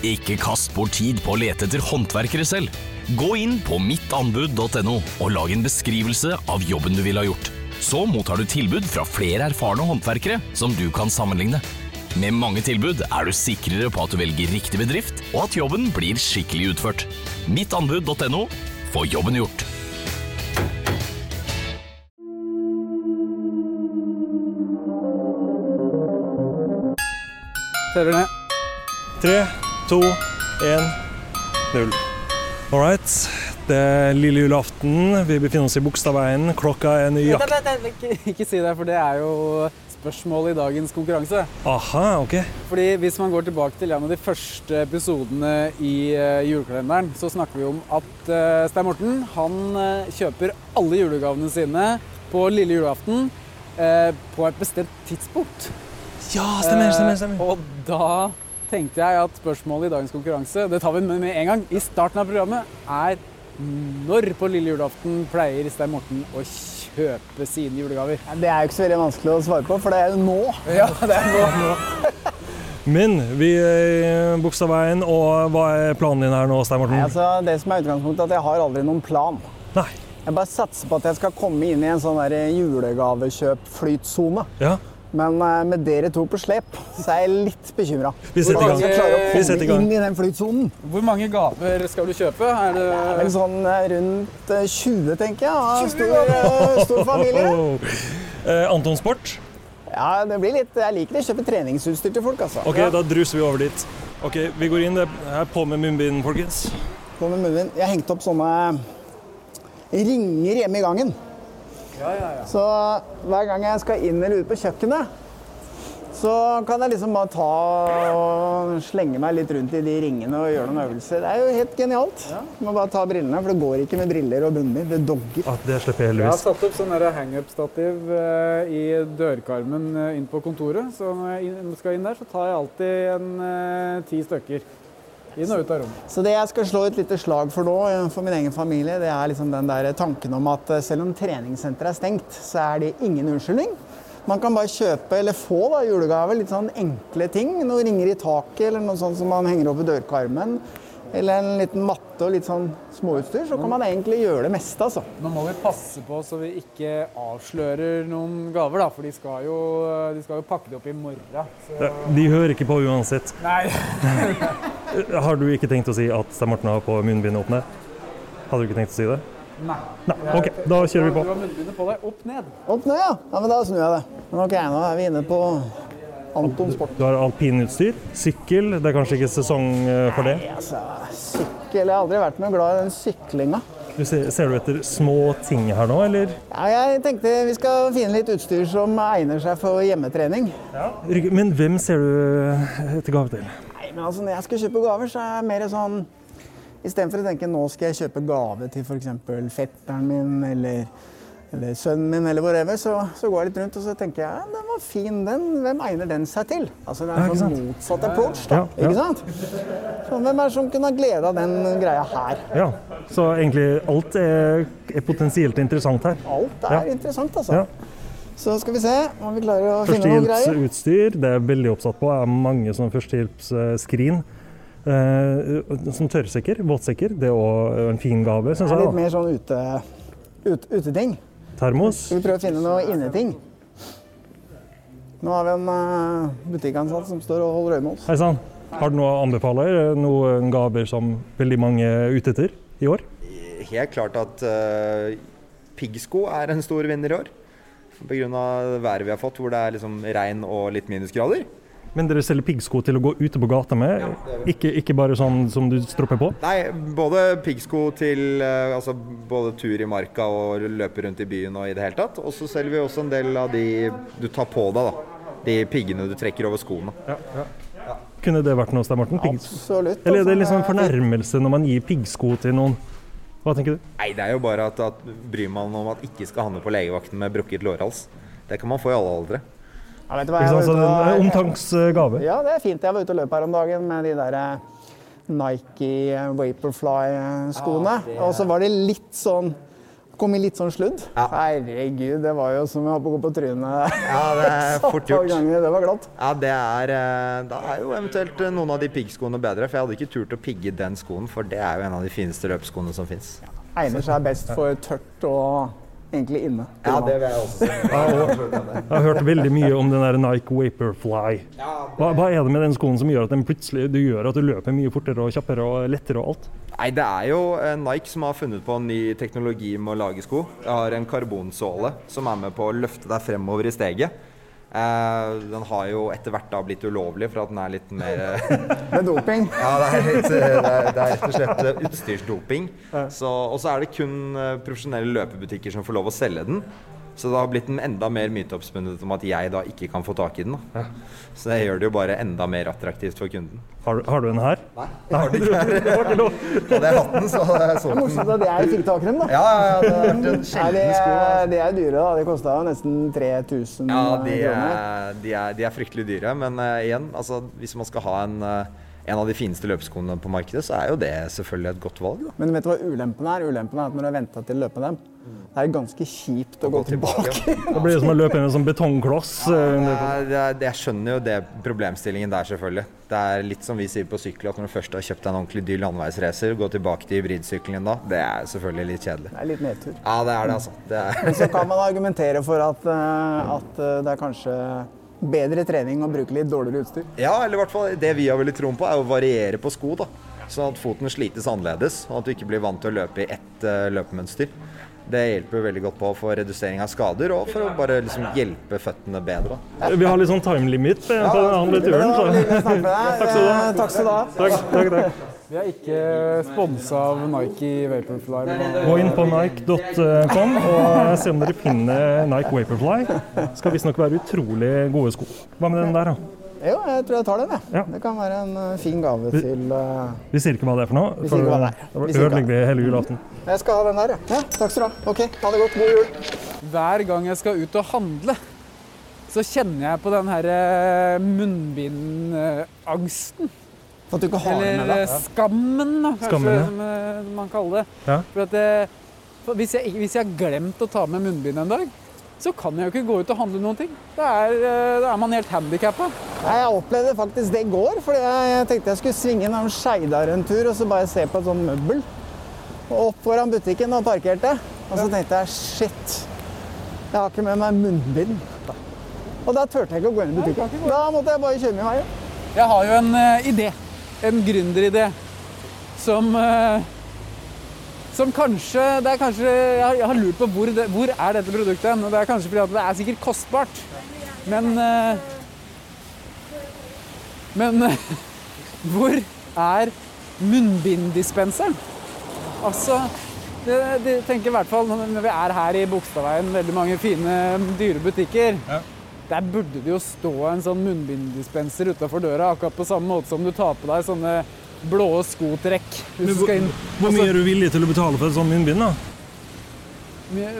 Ikke kast bort tid på å lete etter håndverkere selv. Gå inn på mittanbud.no og lag en beskrivelse av jobben du ville ha gjort. Så mottar du tilbud fra flere erfarne håndverkere som du kan sammenligne. Med mange tilbud er du sikrere på at du velger riktig bedrift, og at jobben blir skikkelig utført. Mittanbud.no få jobben gjort. Fører ned. Tre, to, én, null. All right. Det er lille julaften. Vi befinner oss i Bogstadveien. Klokka er Vent, nøyaktig vent, vent, ikke- Ikke si det, for det er jo spørsmålet i dagens konkurranse. Aha, OK. Fordi Hvis man går tilbake til en av de første episodene i eh, julekalenderen, så snakker vi om at eh, Stein Morten han eh, kjøper alle julegavene sine på lille julaften eh, på et bestemt tidspunkt. Ja, stemmer, stemmer. Eh, stemmer. Og da tenkte jeg at spørsmålet i dagens konkurranse, det tar vi med med en gang, i starten av programmet, er når på lille julaften pleier Stein Morten å kjøpe sine julegaver? Det er jo ikke så veldig vanskelig å svare på, for det er jo nå. Ja, det er nå. Eh, Men vi er i Bogstadveien, og hva er planen din her nå, Stein Nei, Morten? altså, det som er utgangspunktet, er at jeg har aldri noen plan. Nei. Jeg bare satser på at jeg skal komme inn i en sånn der julegavekjøp-flytsone. Ja, Men eh, med dere to på slep, så er jeg litt bekymra. vi setter i Jeg gang. klarer å Vi setter i komme gang. inn i den flytsonen. Hvor mange gaver skal du kjøpe? Er Vel det sånn eh, rundt eh, 20, tenker jeg. Av stor, eh, stor familie. Eh, Anton Sport. Ja, det blir litt Jeg liker det. Kjøpe treningsutstyr til folk, altså. OK, da druser vi over dit. OK, vi går inn. Det er på med munnbind, folkens. På med munnbind. Jeg hengte opp sånne ringer hjemme i gangen. Så hver gang jeg skal inn eller ut på kjøkkenet, så kan jeg liksom bare ta og slenge meg litt rundt i de ringene og gjøre noen øvelser. Det er jo helt genialt. Du må bare ta brillene, for det går ikke med briller og munnbind. Det dogger. Ah, det slipper Jeg jeg har heldigvis. satt opp sånn der hangup-stativ eh, i dørkarmen eh, inn på kontoret. Så når jeg inn- skal inn der, så tar jeg alltid en eh, ti stykker. Inn og ut av rommet. Så det jeg skal slå et lite slag for nå, eh, for min egen familie, det er liksom den der tanken om at eh, selv om treningssenteret er stengt, så er det ingen unnskyldning. Man kan bare kjøpe eller få da, julegaver, litt sånn enkle ting. Noen ringer i taket, eller noe sånt som man henger opp i dørkarmen. Eller en liten matte og litt sånn småutstyr. Så kan man egentlig gjøre det meste, altså. Nå må vi passe på så vi ikke avslører noen gaver, da. For de skal jo, de skal jo pakke det opp i morgen. Så... De hører ikke på uansett. Nei. Har du ikke tenkt å si at Stein Morten har på munnbind åpne? Hadde du ikke tenkt å si det? Nei. Nei, ok, da kjører vi Du på. har munnbindet på deg. Opp ned. Opp ned, ja. ja men da snur jeg det. Men ok, nå er vi inne på Anton Sport. Du har alpinutstyr, sykkel, det er kanskje ikke sesong eh, for det. Altså, sykkel. Jeg har aldri vært noe glad i den syklinga. Du ser, ser du etter små ting her nå, eller? Ja, jeg tenkte vi skal finne litt utstyr som egner seg for hjemmetrening. Rygg- Men hvem ser du eh, etter gave til? Nei, men altså, når jeg skal kjøpe gaver, så er jeg mer sånn Istedenfor å tenke nå skal jeg kjøpe gave til f.eks. fetteren min eller, eller sønnen min, eller whatever, så, så går jeg litt rundt og så tenker jeg, ja, den var fin, den. Hvem egner den seg til? Altså, Det Ja, er ikke en sånn sant? motsatt approach, Ja, da. ja. Ikke sant? Så hvem er det som kunne ha glede av den greia her? Ja, så egentlig alt er, er potensielt interessant her. Alt er Ja. interessant, altså. Ja. Så skal vi se om vi klarer å finne noen greier. Førstehjelpsutstyr, det er jeg veldig oppsatt på, er mange sånne førstehjelpsskrin. Eh, som tørrsekker, våtsekker, det er også en fin gave, synes Det er litt jeg. mer sånn ute, ut, uteting. da. Termos. Skal vi prøve å finne noe inneting? Nå har vi en eh, butikkansatt som står og holder øye med oss. Hei sann. Har du noe å anbefale? Noen gaver som veldig mange er ute etter i år? Helt klart at eh, piggsko er en stor vinner i år. Pga. været vi har fått, hvor det er liksom regn og litt minusgrader. Men dere selger piggsko til å gå ute på gata med, ikke, ikke bare sånn som du stropper på? Nei, både piggsko til eh, altså både tur i marka og løpe rundt i byen og i det hele tatt. Og så selger vi også en del av de du tar på deg, da. De piggene du trekker over skoene. Kunne det vært noe hos deg, Morten? Piggsko? Absolutt. Eller er det Og liksom så- en fornærmelse når man gir piggsko til noen? Hva tenker du? Nei, det er jo bare at, at bryr man om at ikke skal handle på legevakten med brukket lårhals. Det kan man få i alle aldre. Ja, vet du hva, Ikke jeg var sant? Så eh, ute det er en og- omtanksgave. Ja, det er fint. Jeg var ute og løp her om dagen med de der eh, Nike eh, Vaporfly-skoene. Ah, Og så var det litt sånn Kom i litt sånn sludd. Herregud, det var jo som å hoppe og gå på trynet. Ja, det er fort et par gjort. ganger. Det var glatt. Ja, det er, eh, da er jo eventuelt eh, noen av de piggskoene bedre, for jeg hadde ikke turt å pigge den skoen, for det er jo en av de fineste løpsskoene som fins. Egner seg best for tørt og egentlig inne. vil jeg også si. Jeg har hørt veldig mye om den der Nike Vaporfly. Hva, hva er det med den skoen som gjør at den plutselig du gjør at du løper mye fortere og kjappere og lettere og alt? Nei, det er jo eh, Nike som har funnet på en ny teknologi med å lage sko. Jeg har en karbonsåle som er med på å løfte deg fremover i steget. Eh, den har jo etter hvert da blitt ulovlig for at den er litt mer eh, Med doping. Ja, det er, litt, det, er, det er rett og slett eh, utstyrsdoping. Så, og så er det kun eh, profesjonelle løpebutikker som får lov å selge den. Så det har blitt en enda mer myteoppspunnet om at jeg da ikke kan få tak i den. Da. Så det gjør det jo bare enda mer attraktivt for kunden. Har, du- har du en her? Nei. det var ikke lov. Hadde jeg hatt den, så hadde jeg solgt den. Morsomt at jeg fikk tak i dem, da. Ja, ja, Mm. det hadde vært en Nei, det, sjelden sko. altså. da. det er dyre, da. Det kosta jo nesten 3000 Ja, de kroner. er, de, er, de er fryktelig dyre, men eh, igjen, altså, hvis man skal ha en, eh, en av de fineste løpeskoene på markedet, så er jo det selvfølgelig et godt valg, da. Men vet du hva ulempen er? Ulempen er at når du har venta til å løpe dem, Mm. det er ganske kjipt å gå tilbake. Det blir som å løpe med en sånn betongkloss. eh, Nei, det er, det, jeg skjønner jo det problemstillingen der, selvfølgelig. Det er litt som vi sier på sykkel, at når du først har kjøpt deg en ordentlig dyr landeveisracer, gå tilbake til hybridsykkelen din da, det er selvfølgelig litt kjedelig. Det er litt nedtur. Ja, det er det, altså. Det er. Men så kan man argumentere for at, eh, at eh, det er kanskje bedre trening å bruke litt dårligere utstyr. Ja, eller i hvert fall det vi har veldig troen på, er å variere på sko, da. Sånn at foten slites annerledes, og at du ikke blir vant til å løpe i ett eh, løpemønster. Det hjelper jo veldig godt på for redusering av skader, og for å bare liksom hjelpe føttene bedre. da. Vi har litt sånn time limit på på den andre Men det turen. var Så. hyggelig å snakke med deg. Eh, Takk skal du ha. Takk, takk, takk. Vi er ikke sponsa av Nike Vaporfly. men- Gå inn på nike.com og se om dere finner Nike Vaporfly. Skal visstnok være utrolig gode sko. Hva med den der, da? Jo, jeg tror jeg tar den, Ja. jeg. Det kan være en eh, fin gave til eh, Vi sier ikke hva det er for noe. sier ikke hva det er. for Da Vi sier ikke hva ødelegger vi hele julaften. Jeg skal ha den der, ja. ja. Takk skal du ha. Ok, ha det godt. God jul. Hver gang jeg skal ut og handle, så kjenner jeg på den her eh, munnbindangsten. For at du ikke har den med Eller deg. eh, skammen, da, kanskje Skammen, ja. som eh, man kaller det. Ja. For at eh, for hvis, jeg, ikke- hvis jeg har glemt å ta med munnbind en dag, så kan jeg jo ikke gå ut og handle noen ting. Da er, eh, da er man helt handikappa. Nei, jeg opplevde faktisk det i går, fordi jeg tenkte jeg skulle svinge innom Skeidar en tur og så bare se på et sånt møbel. Og opp foran butikken og parkerte. Og så tenkte jeg shit, jeg har ikke med meg munnbind. Og da turte jeg ikke å gå inn i butikken. Da måtte jeg bare kjøre min vei. Jeg har jo en eh, idé. En gründeridé. Som eh, Som kanskje Det er kanskje Jeg har, jeg har lurt på hvor, det, hvor er dette produktet hen. Og det er kanskje fordi at det er sikkert kostbart. Men eh, Men eh, hvor er munnbinddispenseren? Altså det, det tenker jeg i hvert fall når vi er her i Bogstadveien, veldig mange fine, dyre butikker. Der burde det jo stå en sånn munnbinddispenser utafor døra, akkurat på samme måte som du tar på deg sånne blå skotrekk hvis du skal inn. Hvor mye er du villig til å betale for et sånt munnbind? da?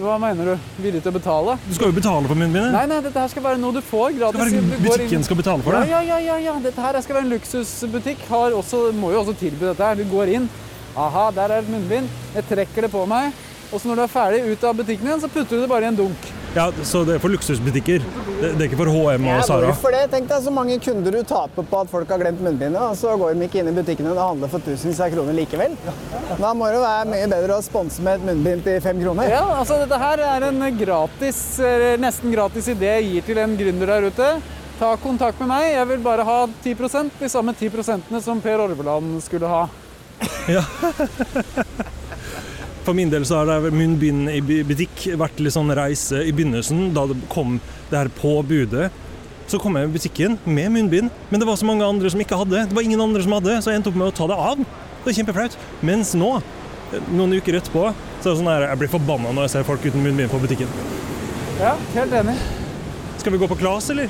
Hva mener du? Villig til å betale? Du skal jo betale for munnbindet. Nei, nei, dette her skal være noe du får Det gratis. er bare Du går inn- Butikken skal betale for ja, det. ja, ja, ja, ja. Dette her skal være en luksusbutikk. Har også, må jo også tilby dette her. Du går inn. Aha, der er et munnbind. Jeg trekker det på meg. Og så når du er ferdig ut av butikken igjen, så putter du det bare i en dunk. Ja, Så det er for luksusbutikker. Det, det er ikke for HM og Ja, Sara. hvorfor det? Tenk deg så mange kunder du taper på at folk har glemt munnbindet, og så går de ikke inn i butikkene og handler for tusenvis av kroner likevel. Da må det være mye bedre å sponse med et munnbind til fem kroner. Ja, altså dette her er en gratis, eller nesten gratis idé jeg gir til en gründer der ute. ta kontakt med meg. Jeg vil bare ha 10 de samme 10 som Per Orveland skulle ha. For min del så har det munnbind i bu- butikk vært litt sånn reise i begynnelsen, da det kom det her påbudet. Så kom jeg i butikken med munnbind, men det var så mange andre som ikke hadde. Det var ingen andre som hadde, så jeg endte opp med å ta det av. Det er kjempeflaut. Mens nå, noen uker etterpå, så er det sånn her Jeg blir forbanna når jeg ser folk uten munnbind på butikken. Ja, helt enig. Skal vi gå på Klas, eller?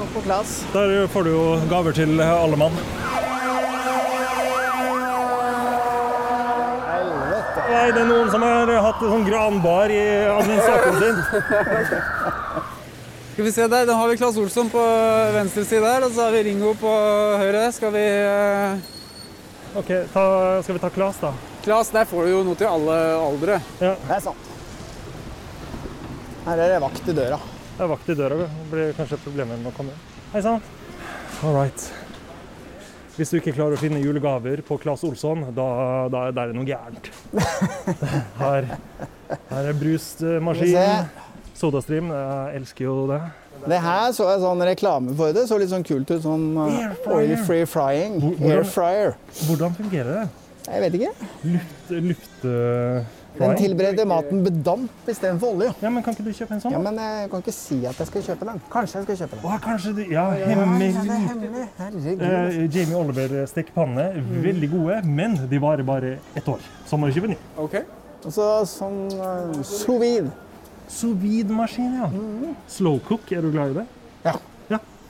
Gå på plass. Der får du jo gaver til eh, alle mann. Helvete. Nei, det er noen som har hatt en sånn granbar i administratoren sin. Skal vi se der, Da har vi Claes Olsson på eh, venstre side der, og så har vi Ringo på høyre. Skal vi eh, Ok, ta, skal vi ta Klas, da? Claes, der får du jo noe til alle aldre. Det er sant. Her er det vakt i døra. Det er vakt i døra. Det blir kanskje problemer med å komme inn. Hei sann. All right. Hvis du ikke klarer å finne julegaver på Claes Olsson, da, da, da er det noe gærent. Her, her er Skal vi se. brusmaskin, sodastream. Jeg elsker jo det. Det her så jeg sånn reklame for det. Så litt sånn kult ut. Sånn eh, Air fryer. oil free frying. Hvor- hvordan- Air fryer. Hvordan fungerer det? Jeg vet ikke. Luft... luft øh, Den frying? tilbereder maten med damp istedenfor olje. Ja, men Kan ikke du kjøpe en sånn? Ja, men jeg kan ikke si at jeg skal kjøpe den. Kanskje jeg skal kjøpe den. Å, kanskje du Ja, Ja, det er hemmelig. hemmelig. Herregud. Eh, Jamie Oliver-stekepanne, veldig gode, men de varer bare ett år. Så må du kjøpe ny. Ok. Og så sånn uh, sous vide. Sous vide-maskin, ja. Slow cook, er du glad i det?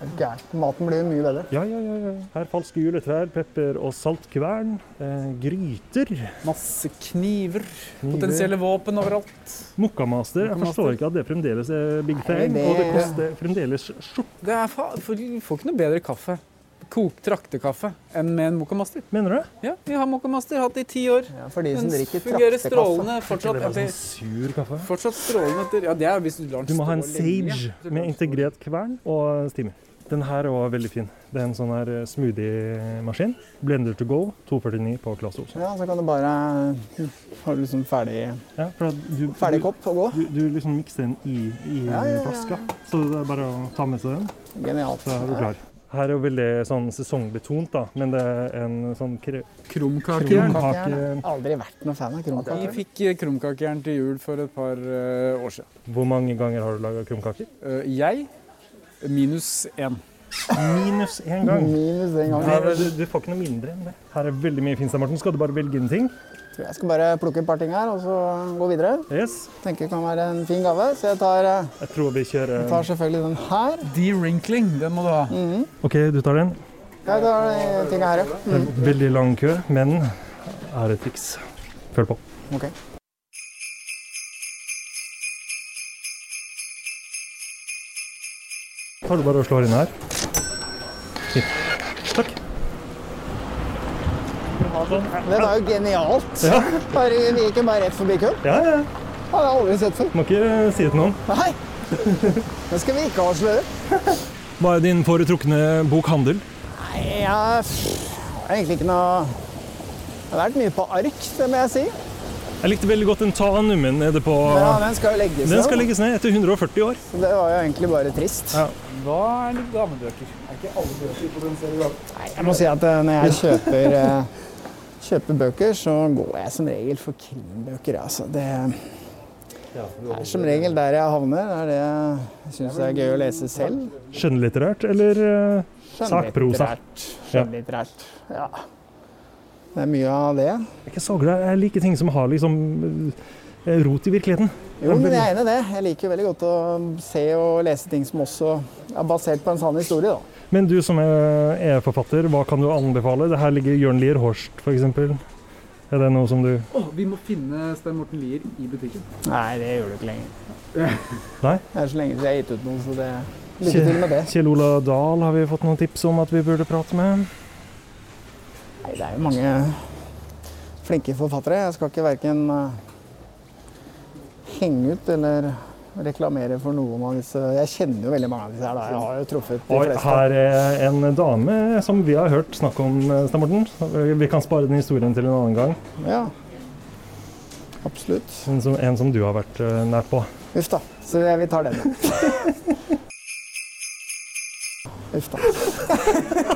Er du gæren? Maten blir jo mye bedre. Ja, ja, ja. Her falske juletrær, pepper og saltkvern. Eh, gryter. Masse kniver. Potensielle våpen overalt. Mokkamaster. Jeg forstår ikke at det fremdeles er big thing. det- Og det koster fremdeles skjort, Det er fa for, Du får ikke noe bedre kaffe. Kokt traktekaffe enn med en mokamaster. mener du? Ja, vi har mokamaster, hatt det i ti år. Ja, for de som Den drikker fungerer traktekaffe. strålende fortsatt. Det er bare Etter, sånn sur kaffe. fortsatt strålende etter Ja, det er hvis du lar den Du må ha en stå lenge. sage med integrert kvern og steamer. Den her er også veldig fin. Det er en sånn her eh, smoothie-maskin. Blender to go, 249 på Claes Olsen. Ja, så kan du bare mm, ha liksom ferdig, Ja, for at du, ferdig kopp og gå. Du, du liksom mikser den i, i flaska, så det er bare å ta med seg den. Genialt. Da er du klar. Her er jo veldig sånn sesongbetont, da, men det er en sånn kre Krumkakejern. Kronkaker. krumkake Aldri vært noen fan av Vi krumkaker. fikk eh, krumkakejern til jul for et par eh, år siden. Hvor mange ganger har du laga krumkaker? Eh, jeg minus én. Minus én gang. Minus en gang. Nei, du, du får ikke noe mindre enn det. Her er veldig mye fint, Stein Morten. Skal du bare velge en ting? Tror Jeg skal bare plukke et par ting her og så gå videre. Yes. Tenker det kan være en fin gave, så jeg tar, eh, Jeg tror vi kjører tar selvfølgelig den her. De-wrinkling, den må du ha. OK, du tar den. Jeg tar den tinga her, ja. Mm, Det er Veldig lang kø, men er et triks. Følg på. Ok. Tar du bare og slår inn her. Fint. Takk. Den er jo genialt. Ja. Bare, vi gikk jo bare rett forbi køen. Ja, ja. Det har jeg aldri sett før. Må ikke eh, si det til noen. Nei! Det skal vi ikke avsløre. Hva er din foretrukne bokhandel? Ja, pff, det er egentlig ikke noe Det har vært mye på ark, det må jeg si. Jeg likte veldig godt den Tanummen nede på Men ja, den skal jo legges Den skal ned, legges ned etter 140 år. så det var jo egentlig bare trist. Ja. Hva er det damebøker? Er ikke alle bøker potensielle gaver? Jeg må si at eh, når jeg kjøper, eh, kjøper bøker, så går jeg som regel for krimbøker. Altså. Det er som regel der jeg havner. Det er det jeg syns er gøy å lese selv. Skjønnlitterært eller eh, Sakprosa. Skjønnlitterært. Ja. Det er mye av det. Jeg er ikke så glad. Jeg liker ting som har liksom eh, rot i virkeligheten. Jo, men jeg er enig i det. Jeg liker jo veldig godt å se og lese ting som også er basert på en sann historie. da. Men du som er er forfatter, hva kan du anbefale? Det her ligger Jørn Lier Horst, f.eks. Er det noe som du vi må finne Stein Morten Lier i butikken. Nei, det gjør du ikke lenger. Nei? Det er så lenge siden jeg har gitt ut noe, så det lykke til med det. Kjell Ola Dahl har vi fått noen tips om at vi burde prate med. Nei, det er jo mange flinke forfattere. Jeg skal ikke verken henge ut eller reklamere for noen av disse Jeg kjenner jo veldig mange av disse her, da. Jeg har jo truffet de Oi, fleste. her er en dame som vi har hørt snakke om, eh, Stein Morten. Vi kan spare den historien til en annen gang. Ja. Absolutt. En som, en som du har vært eh, nært på. Uff da. Så jeg- vi tar den. ja. Uff da.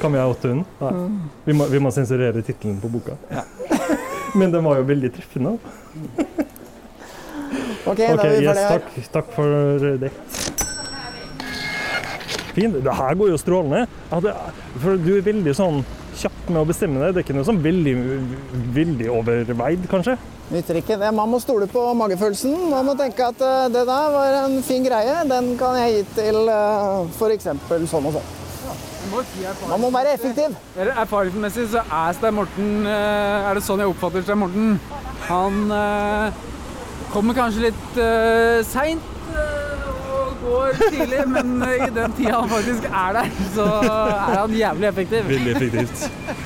Kan vi ha åtte hund? Nei. Mm. Vi må, vi må sensurere tittelen på boka. Men den var jo veldig treffende. Ok, da er Ok, yes, vi ferdige her. takk, takk for det. Fint. Det her går jo strålende. Ja, det, for du er veldig sånn kjapp med å bestemme deg. Det er ikke noe sånn veldig, veldig overveid, kanskje? Nytter ikke det. Man må stole på magefølelsen. Man må tenke at eh, det der var en fin greie. Den kan jeg gi til f.eks. sånn og sånn. Man må være effektiv. Eller Erfaringsmessig så er Stein Morten eh, Er det sånn jeg oppfatter Stein Morten? Han eh, kommer kanskje litt eh, seint og går tidlig, men eh, i den tida han faktisk er der, så er han jævlig effektiv. Veldig effektivt.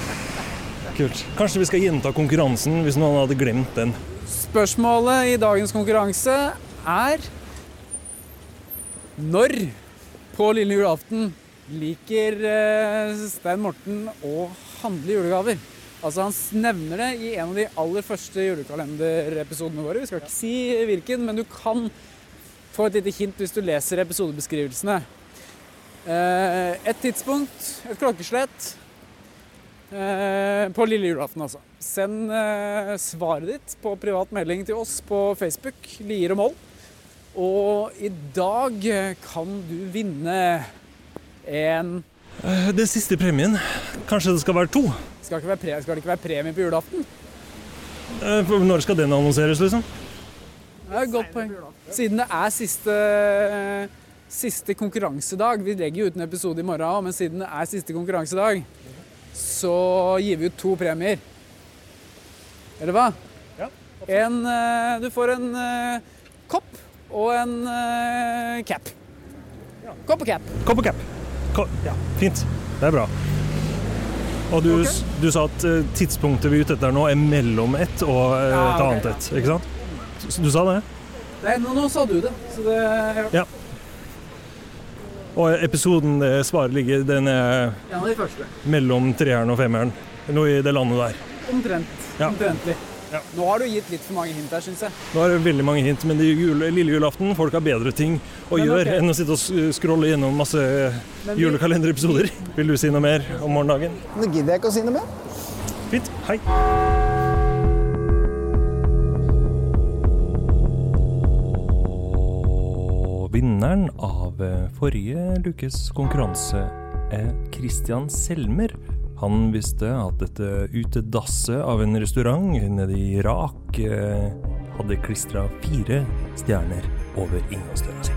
Kult. Kanskje vi skal gjenta konkurransen hvis noen hadde glemt den. Spørsmålet i dagens konkurranse er Når på lille julaften liker eh, Stein Morten å handle julegaver? Altså Han nevner det i en av de aller første julekalenderepisodene våre. Vi skal ikke si hvilken, men du kan få et lite hint hvis du leser episodebeskrivelsene. Eh, Et tidspunkt, et klokkeslett, Eh, på lille julaften, altså. Send eh, svaret ditt på privat melding til oss på Facebook, Lier og Moll. Og i dag eh, kan du vinne en Eh, Det er siste premien. Kanskje det skal være to? Skal, ikke være pre skal det ikke være premie på julaften? Eh, for Når skal den annonseres, liksom? Det er et godt poeng. Siden det er siste, siste konkurransedag Vi legger jo ut en episode i morgen også, men siden det er siste konkurransedag, så gir vi ut to premier. Eller hva? En, eh, du får en eh, kopp og en eh, cap. Kopp og cap. Kopp og cap. Ko- ja, fint. Det er bra. Og du, s- du sa at eh, tidspunktet vi er ute etter nå, er mellom ett og eh, Ja, et ok, annet ja. ett. Ikke sant? S- Du sa det? Nei, nå, nå sa du det. Så det ja. Og episoden det svaret ligger, den er En av de første. mellom treeren og femmeren. Noe i det landet der. Omtrent. Ja. Omtrentlig. Ja. Nå har du gitt litt for mange hint her, syns jeg. Nå er det veldig mange hint, men det er jul, lille julaften. Folk har bedre ting å Men gjøre ok. enn å sitte og s- scrolle gjennom masse Men vi- julekalenderepisoder. Vil du si noe mer om morgendagen? Nå gidder jeg ikke å si noe mer. Fint. Hei. Og vinneren av eh, forrige lukes konkurranse er Christian Selmer. Han visste at dette utedasset av en restaurant nede i Irak eh, hadde klistra fire stjerner over inngangsdøra si.